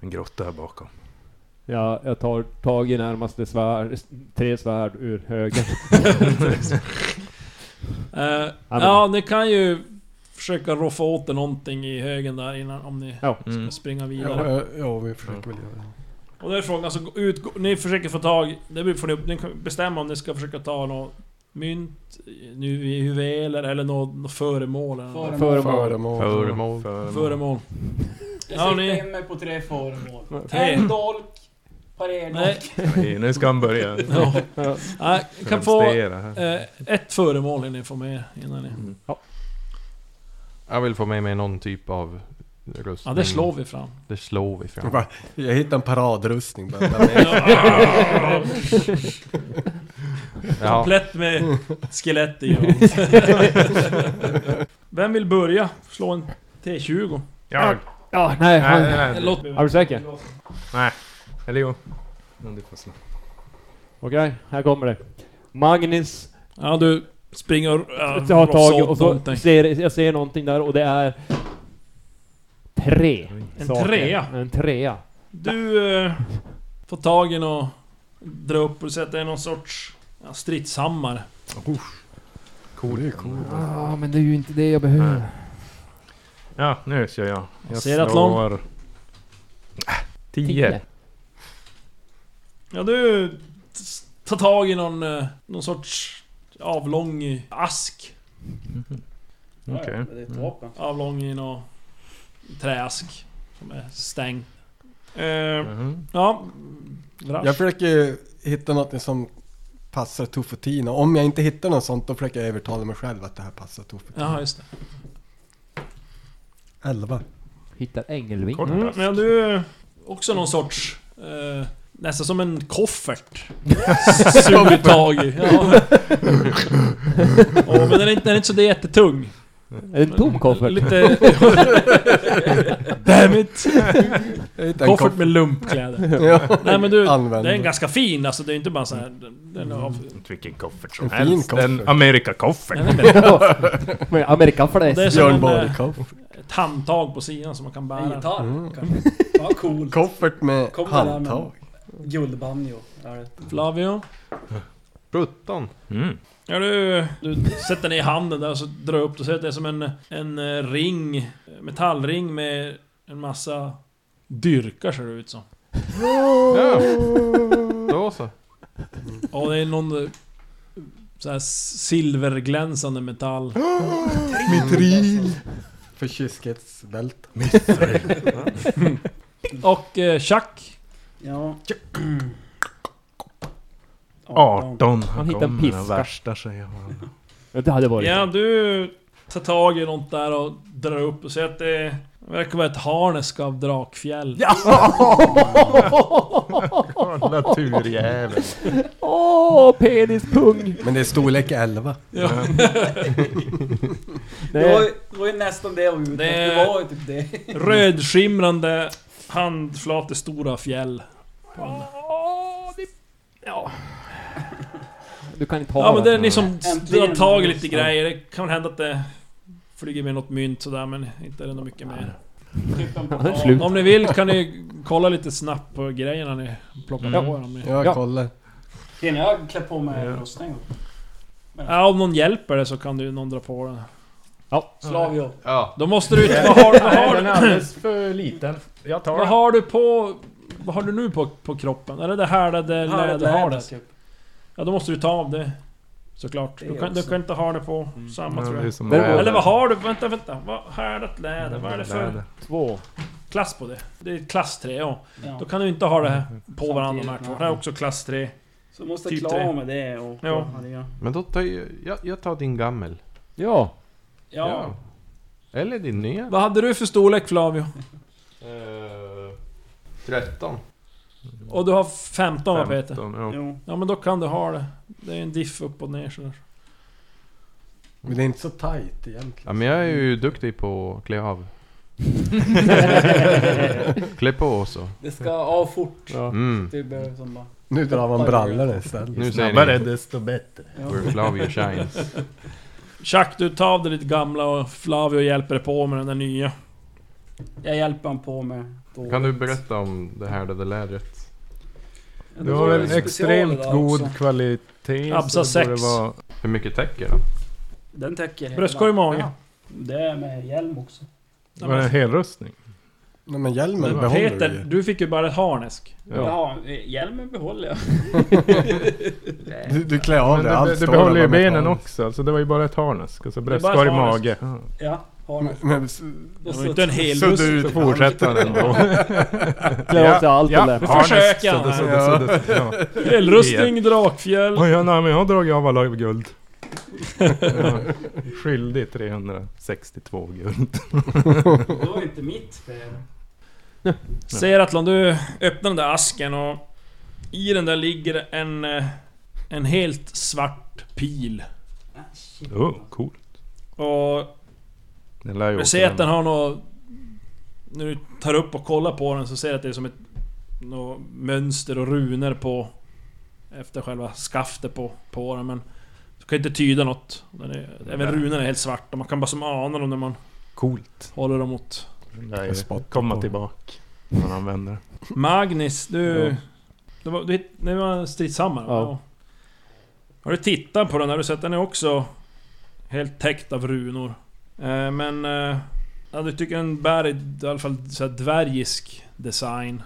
H: en grotta här bakom.
F: ja, jag tar tag i närmaste svärd, tre svärd ur högen.
B: Eh,
F: men-
B: ja, ni kan ju försöka roffa åt det någonting i högen där innan om ni
F: Ja.
C: Mm.
B: ska springa vidare.
E: Ja, ja, ja, vi försöker väl göra det.
B: Och då är frågan, så gå ut, gå- ni försöker få tag, det beror- får ni, ni kan bestämma om ni ska försöka ta något mynt, nu i huvud eller, eller något, något föremål eller något.
F: Föremål.
E: Föremål.
D: Föremål.
B: Föremål. Ja,
G: Jag
B: ni-
G: siktar in mig på tre föremål.
B: Tre.
G: En dolk,
B: Nej,
G: parerdolk.
C: Okej, nu ska han börja
B: ja. ja, kan få
C: demonstrera här.
B: eh, ett föremål innan ni får med innan ni...
D: Jag vill få med mig någon typ av rustning.
B: Ja, det slår vi fram.
D: Det slår vi fram.
E: Va? Jag hittade en paradrustning bara. Den är-
D: Ja,
B: Komplett med skelett i. Vem vill börja? Slå en T20.
C: Ja,
F: Ja,
C: nej,
F: nej. Han,
C: nej, nej.
B: Låt,
F: är du säker? Okej,
C: Eller jo. Men du får slå.
F: här kommer det. Magnus
B: ja, du springer och ja, rofsar
F: tar tag
B: åt
F: och så
B: någonting.
F: ser jag ser någonting där och det är... Tre.
B: En
F: saker.
B: trea.
F: En trea.
B: Du eh, får tag i och drar upp och sätter någon sorts ja, stridshammare.
E: Det är coolt.
F: Ja, Ah, men det är ju inte det jag behöver.
C: Ja, nu kör jag. Jag
B: Ser att
C: slår... Äh,
F: Tio.
C: Tio.
B: Ja, du t- tar tag i någon, eh, någon sorts avlång ask.
G: Ja,
C: Okej.
G: ja, Det är
B: Mm.
G: ett vapen.
B: Avlång i någon träask. Som är stängd. Eh,
C: Mhm.
B: ja... Vrash.
E: Jag försöker ju hitta något som passar Tofotina. Om jag inte hittar något sånt då försöker jag övertala mig själv att det här passar
B: Jaha,
E: Tofotina.
B: just det.
E: Elva.
F: Hittar ängelvingar.
B: Mm, men du... eh, Också någon sorts... Eh, nästan som en koffert. Suger tag i. Ja. Åh, men den är, inte, den är inte så jättetung.
F: Är det en tom koffert?
B: Lite... Damn it!
E: Jag hittade en
B: Koffert
E: koffert.
B: med lumpkläder.
E: Ja,
B: Nej men du,
E: Använd. Mm.
B: det är en ganska fin alltså. Det är inte bara så här. den- Den är av...
C: Inte Vilken koffert
E: En
C: som
E: fin
C: helst.
E: koffert.
C: En Amerika-koffert.
B: Den är väldigt-
F: Men Amerikanfläsk.
B: Det är som
E: Björn
B: en, eh,
E: Borg-koffert.
B: ett handtag på sidan som man kan
G: En
B: bära.
G: gitarr
E: Mm.
G: kanske. Ja, cool.
E: Koffert med
G: Kom med det här med-
E: handtag.
G: Guldbanjo. Ja, det-
B: Flavio?
D: 17.
C: Mm.
B: Ja du, du sätter ner handen där och så drar upp det så att det är som en, en eh, ring, metallring med en massa dyrkar ser det ut som. Oh.
D: Ja. Då så.
B: Ja det är någon eh, så här silverglänsande metall.
E: Mitril. För kyskhetsbälte.
B: Och eh, Chuck?
G: Ja.
C: 18. Han
F: hittar en
C: kommer med
F: piska.
C: värsta säger han.
F: Ja, Det hade varit...
B: Ja du tar tag i något där och drar upp och ser att det verkar vara ett harnesk av drakfjäll. Ja.
C: Kolla turjäveln.
F: Åh, penispung!
E: Men det är storlek 11.
G: Det var,
F: Nej,
G: ju- det var ju nästan det jag var ute efter.
B: Det-
G: Det var ju typ det.
B: Rödskimrande handflate stora fjäll. på den.
F: du kan inte ha
B: Ja men det är
F: den.
B: ni som
G: Äntligen.
B: drar tag i lite grejer. Det kan hända att det flyger med något mynt sådär men inte är det något mycket mer.
G: Typ en
F: Ja, det är
G: portal.
F: slut.
B: Om ni vill kan ni kolla lite snabbt på grejerna ni plockar
C: Mm.
B: på. er, Om ni...
F: Ja.
E: Jag kollar.
G: Hinner jag klä på mig rustning?
B: ja, om någon hjälper det så kan du någon dra på den.
G: Slavio.
D: Ja.
B: Då måste du... Vad har, vad har,
I: Den är alldeles för liten. Jag tar
B: vad
I: den.
B: har du på... Vad har du nu på, på kroppen? Är det det här där det läderhardet?
G: typ.
B: Ja, då måste du ta av det. Mm. Såklart.
G: Det
B: Du kan, du
G: också.
B: kan inte ha det på samma tror jag.
C: som
F: Där var-
B: Eller vad har du? Vänta, vänta. Vad, härdat läder? Vad är det för
C: Läder.
F: Två.
B: klass på det? Det är klass 3, ja.
G: Ja.
B: Då kan du inte ha det här på varandra de här
G: Mm. Samtidigt,
B: två.
G: nej.
B: Det här är också klass 3.
G: Så måste
B: Typ
G: jag
B: det.
G: klara med det och...
B: Ja.
G: ja.
D: Men då tar jag, jag, jag tar din gammel.
F: Ja.
G: ja.
D: Eller din nya.
B: Vad hade du för storlek Flavio?
D: 13.
B: Och du har 15 va Peter?
H: ja.
G: Jo.
B: Ja men då kan du ha det. Det är en diff upp och ner sådär.
E: Men det är inte så tight egentligen.
D: Ja, men jag är ju duktig på att klä av. klä på så.
G: Det ska av fort.
D: Mm.
G: Det behöver som bara...
E: Nu drar man brallorna istället.
D: Nu
H: Snabbare
D: säger ni
H: desto bättre.
D: where Flavio shines.
B: Jack, du tar av dig ditt gamla och Flavio hjälper dig på med den där nya.
G: Jag hjälper han på med då.
D: Kan du berätta om det härdade lädret?
G: Ja,
C: Du
G: då
C: har
G: var det
C: väl
G: special
C: extremt
G: idag
C: god
G: också.
C: kvalitet.
B: Absa
C: så det borde
B: sex.
C: vara-
D: Hur mycket täcker den?
G: Den täcker hela.
B: Bröstkorg i magen.
G: Ja. Det är med hjälm också.
C: Var det en helrustning?
E: Nej men hjälmen
B: Men
E: behåller du
B: Peter,
E: ju.
B: du fick ju bara ett harnesk.
C: Ja.
G: Jaha, hjälmen behåller jag.
E: Du, du klär av
C: Men
E: dig
C: det,
E: allt
C: det, det
E: står
C: behåller
E: där
C: ju
E: med
C: benen
E: tal.
C: också, alltså det var ju bara ett harnesk. Alltså
B: är bara ett
C: bröstkorg i
B: harnesk.
C: mage.
G: Ja, har den.
E: Men- Men
B: Det var ju inte en hel
E: sudd
B: buss.
E: ut
C: Så fortsätter den ändå.
F: Klä av sig allt
C: Ja.
F: och läpp.
B: Nu försöker
C: Så det- så
B: han.
C: det- så det- ja.
B: Elrustning, drakfjäll.
C: Oj, ja, nej, men jag har dragit av alla guld. Ja. Skyldig 362 guld.
G: Det var inte mitt fel.
B: Seratlon, du öppnar den där asken och i den där ligger en... eh, En helt svart pil.
G: Ah, shit.
C: Oh, cool.
B: Och
C: Den lär ju
B: Du
C: åka
B: ser att
C: den.
B: den har något... När du tar upp och kollar på den så ser du att det är som ett... Något mönster och runor på... Efter själva skaftet på, på den men... Du kan inte tyda något. Den är, även runorna är helt svarta, man kan bara som ana dem när man
C: Coolt.
B: håller dem mot...
C: Den lär ju
E: Spott
C: komma
E: på.
C: tillbaka. När man använder den.
B: Magnus, du...
F: Ja.
B: Det var, du hitt- det var en stridshammare va?
F: Ja.
B: ja. Har du tittat på den där? Du sett att den är också... Helt täckt av runor. Eh, men... Eh, ja, du tycker den bär i i alla fall så här dvärgisk design.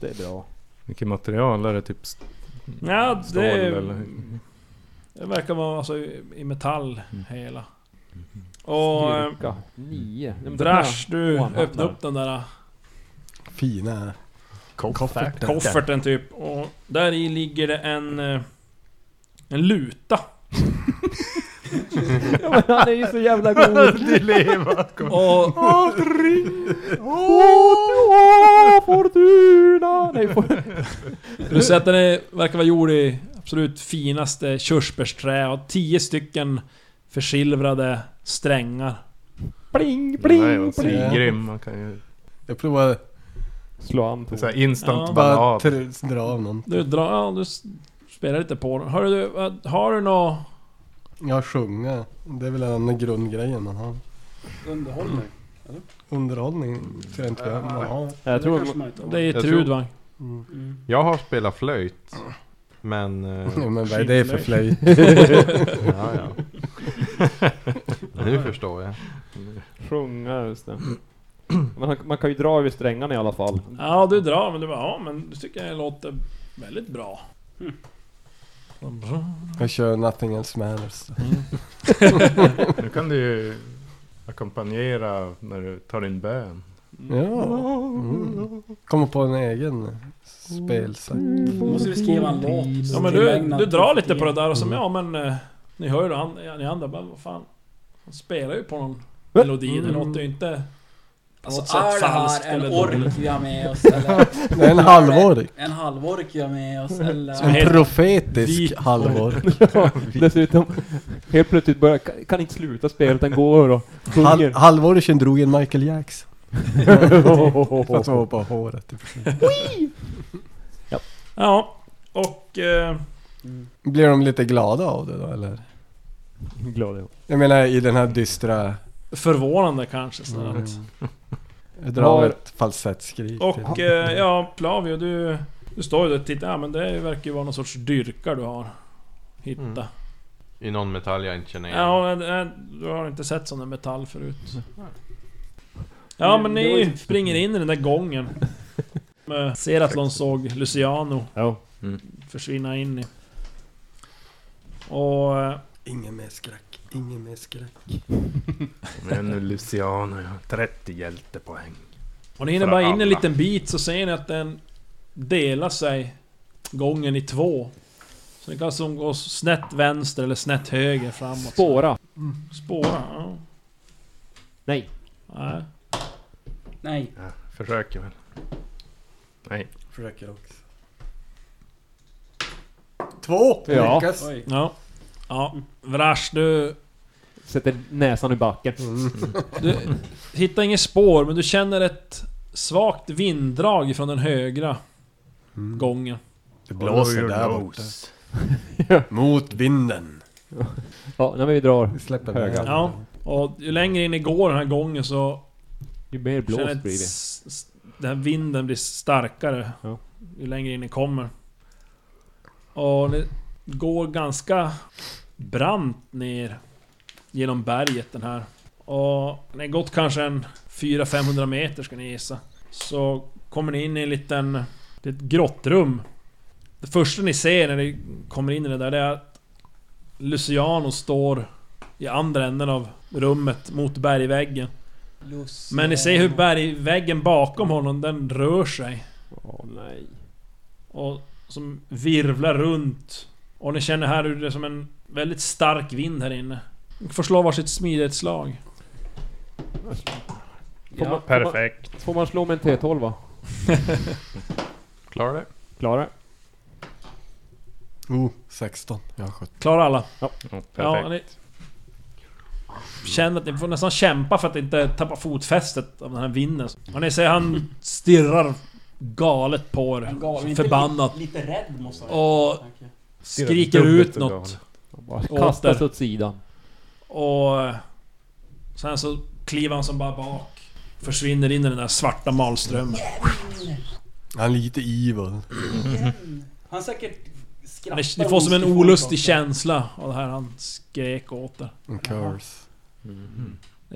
F: Det är bra.
C: Vilket material är det? Typ st-
B: Ja,
C: stål
B: det...
C: eller?
B: Det verkar vara alltså, i i metall
C: Mm.
B: hela. Och... Eh,
F: Styrka. Nio. Nej, men den här-
B: Drash, du
F: Och han
B: öppnar
F: hamnar.
B: upp den där eh,
E: fina kofferten.
B: kofferten typ. Och där i ligger det en... eh, En luta.
F: Ja, men han är ju så jävla god.
B: Och
F: Åh, Fortuna! Nej, for...
B: Du ser att den är, verkar vara gjord i absolut finaste körsbärsträ och tio stycken försilvrade strängar.
F: Pling,
C: Den lär ju vara
F: pling, pling.
C: svingrym. Man kan ju...
E: Jag provar
F: Slå an på.
C: Så här instant
B: Ja.
E: bara
C: ballad.
E: tr- dra av någon.
B: Du drar... Ja, du s- spelar lite på den. Hör du, vad- har du nå...
E: Ja, sjunga. Det är väl den där grundgrejen man har.
G: Underhåller.
E: Underhållning tror jag inte vi har- man har.
F: Jag tror...
G: kanske man inte har.
B: Det är
D: Jag
B: Trud
D: tror-
B: va?
E: Mm.
G: Mm.
D: Jag har spelat flöjt. Men... eh,
E: Ja, men vad är det för flöjt?
D: ja, ja. nu förstår jag.
F: Sjunga, just det. Man, man kan ju dra över strängarna i alla fall.
B: Ja, du drar men du bara ja men du tycker jag låter väldigt bra.
E: Jag kör Nothing Else Matters.
C: Nu kan du ju ackompanjera när du tar din bön.
E: Ja. Mm. Kommer på en egen spelsajt.
G: Då måste vi skriva en låt.
B: Ja men du,
G: tillägnad
B: du drar lite
G: till-
B: på det där och som ja men... eh, Ni hör ju då, han, ni andra bara vad fan. Han spelar ju på någon melodi, det låter ju inte... på något
G: Alltså
B: sätt
G: är det
B: falskt
G: här en
B: eller dåligt.
G: ork vi har med oss eller?
E: Det är en halvorg.
G: En halvork vi har med oss eller?
B: Som
E: En
B: heter-
E: profetisk
B: Vik-
E: halvorg.
F: Ja, dessutom, helt plötsligt börjar, kan- kan inte sluta spela utan går och
E: Hal
F: sjunger.
E: halvorgen drog en Michael Jackson. Fast hon hoppade på håret.
B: Ja, och... Eh,
E: Blir de lite glada av det då eller?
F: Glad jag.
E: Jag menar i den här dystra...
B: förvånande kanske sådär
E: Mm.
B: att...
E: Jag drar
F: Har-
E: ett falsettskrik.
B: Och eh, ja, Plavio du... Du står ju där och tittar, ja men det verkar ju vara någon sorts dyrkar du har hittat.
D: Mm. I någon metall jag inte känner igen.
B: Ja, och, eh, du har inte sett sån där metall förut. Ja men
G: Det var
B: ni
G: ju-
B: springer in i den där gången. Eh, Ser att någon såg Luciano
I: Ja.
B: försvinna in i... Och... eh,
E: Ingen mer skräck, ingen mer skräck.
H: Men nu Luciano, jag har 30 hjältepoäng.
B: Och ni hinner
H: För
B: bara in
H: alla.
B: en liten bit så ser ni att den delar sig gången i två. Så det kan som gå snett vänster eller snett höger framåt.
F: Spåra.
B: Spåra, ja.
F: Nej.
B: Nej.
G: Nej.
H: Ja, försöker väl. Nej.
E: Försöker också. Två!
F: Ja.
E: Lyckas.
G: Oj.
B: Ja. Ja. Vrash, du...
F: Sätter näsan i backen.
B: Du hittar inget spår, men du känner ett svagt vinddrag från den högra gången.
E: Det blåser där borta. Mot vinden.
F: Ja, när vi drar.
E: Vi släpper
F: Höga.
E: ner.
B: Ja. Och ju längre in i går den här gången så
F: Ju
B: känner
F: mer blåst
B: ett
F: blir det.
B: s- s- Den här vinden blir starkare
F: Ja.
B: ju längre in ni kommer. Och det går ganska brant ner genom berget den här. Och när ni gått kanske en 400-500 meter ska ni gissa. Så kommer ni in i en liten... Det är ett grottrum. Det första ni ser när ni kommer in i det där det är att Luciano står i andra änden av rummet mot bergväggen.
G: Luciano.
B: Men ni ser hur bergväggen bakom honom, den rör sig.
F: Åh nej.
B: Och som virvlar runt. Och ni känner här hur det är som en väldigt stark vind här inne. Ni får slå varsitt smidighetsslag.
F: Får man-
G: Ja.
F: får man-
C: Perfekt.
F: Får man slå med en T12 va?
D: Klarar det?
F: Klara.
E: Oh, 16. Jag har 17.
B: Klarar alla?
C: Ja,
B: Ja,
C: perfekt.
B: ni känner att ni får nästan kämpa för att inte tappa fotfästet av den här vinden. Och ni ser han stirrar galet på
G: Han gav
B: er.
G: inte
B: Förbannat.
G: Lite, lite rädd måste han
B: Och
G: Okej.
B: skriker
C: dubbelt
B: ut
C: och
B: något.
F: Bara
B: Åter.
F: kastas åt sidan.
B: Och eh, sen så kliver han som bara bak. Försvinner in i den där svarta malströmmen.
E: Han är lite evil.
G: Han säkert skrattar.
B: Ni, ni får som en olustig
G: också.
B: känsla av det här han skrek åt er.
E: En curse.
B: Det är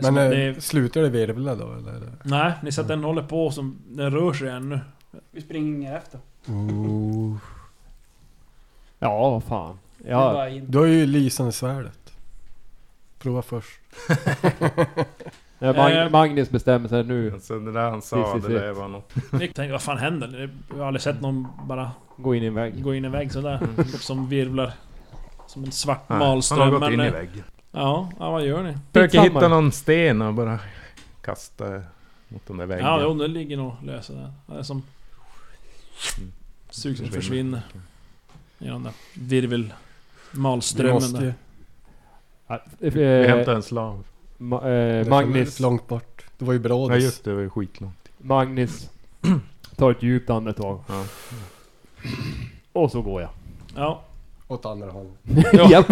B: som
E: Men
B: att
E: eh,
B: det,
E: slutar det virvla då eller?
B: nej, ni ser att den håller på som... Den rör sig ännu.
G: Vi springer efter.
E: Oh.
F: Ja, vad fan.
G: Vi är
F: Ja,
G: bara in.
E: Du har ju lysande svärdet. Prova först.
F: när Mag-
B: Eh.
F: Magnus bestämmer sig nu.
H: Alltså det där han
F: Si,
H: sa,
F: si,
H: det
F: si.
H: där var något.
B: Ni tänker, vad fan händer? Jag har aldrig sett någon bara
F: Gå in i en vägg.
B: gå in i en vägg sådär. Som virvlar. Som en svart
H: Mm. Nej,
B: malström.
H: Han har gått
B: men,
H: in i
B: eh,
H: väggen.
B: Ja, ja, vad gör ni?
C: Försöker
F: Skitsamma.
C: hitta någon sten och bara kasta mot den där väggen.
B: Ja, jo, det ligger nog lösa där. Det är som... Sugs och försvinner. Genom den där virvel...
E: Vi
B: Malströmmen
E: måste
B: där.
E: ju.
F: Eh,
H: Vi
F: eh,
H: hämtar en slav.
F: Ma-
E: Det
F: eh,
E: är
F: Magnus,
E: för långt bort. Det var ju
H: Nej
E: brådis.
H: just det, det var ju skitlångt.
F: Magnus tar ett djupt andetag.
H: Ja.
F: Och så går jag.
B: Ja.
E: Åt andra hållet.
F: Japp.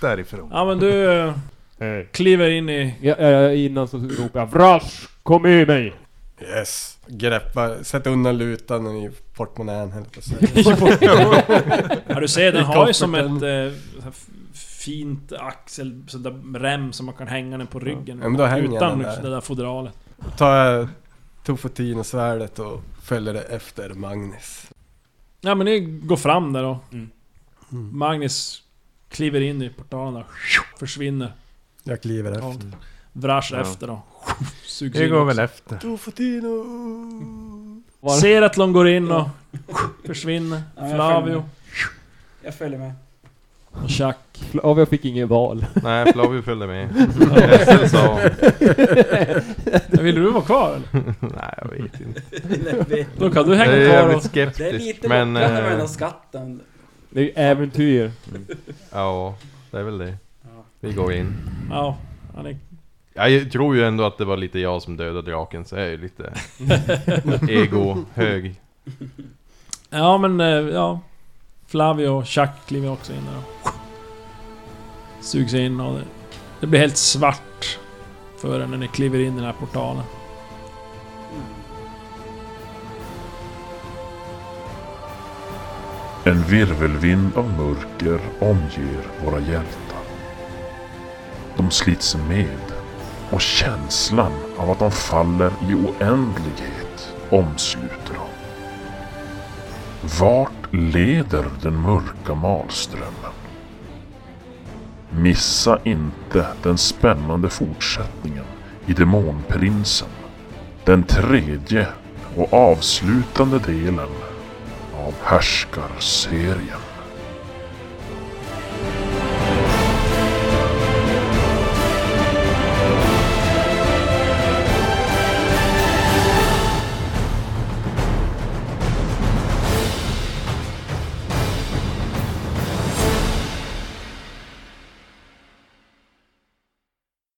H: Därifrån.
B: ja, men du... eh,
I: Hej.
B: Kliver in i...
F: Ja, ja, innan så ropar jag Vrash! Kom i mig!
E: Yes. Greppa, sätt undan lutan i portmonnän höll jag på att säga.
B: Ja, du ser, den
E: I
B: har ju som ett
E: kofferten.
B: eh, så här f- fint axel... Sån där rem som man kan hänga den på ryggen.
E: Ja, men då hänger
B: utan
E: den där.
B: det där fodralet.
E: tar jag Tofotin och svärdet och följer det efter Magnus.
B: Ja, men ni går fram där då.
F: Mm.
B: Magnus kliver in i portalen där. Försvinner.
E: Jag kliver efter.
B: Allt. Vrash
H: Ja.
B: efter då. Sugs
H: Vi
B: in
H: går
B: också.
H: väl efter.
E: Tofotino!
F: Var-
B: Ser att de går in och försvinner.
G: Ja, jag
B: Flavio
G: följer Jag följer med.
B: och Chuck.
F: Flavio fick inget val.
D: Nej, Flavio följde med. Resten sa...
B: Vill du vara kvar eller?
D: Nej, jag vet inte.
B: Då kan du
D: Jag
B: hänga
D: är
B: kvar och...
D: jävligt
G: Det är
D: skeptisk,
G: lite
D: men...
G: lockande med den där
D: eh,
G: skatten.
F: Det är ju äventyr.
D: Ja, det är väl det.
G: Ja.
D: Vi går in.
B: Ja. ja ni,
D: Jag tror ju ändå att det var lite jag som dödade draken, så jag är ju lite... Ego hög.
B: ja men... eh, Ja. Flavio och Chuck kliver också in där då. Sugs in och det, det blir helt svart för er när ni kliver in i den här portalen.
A: En virvelvind av mörker omger våra hjältar. De slits med och känslan av att de faller i oändlighet omsluter dem. Vart leder den mörka malströmmen? Missa inte den spännande fortsättningen i Demonprinsen. Den tredje och avslutande delen av av Härskarserien.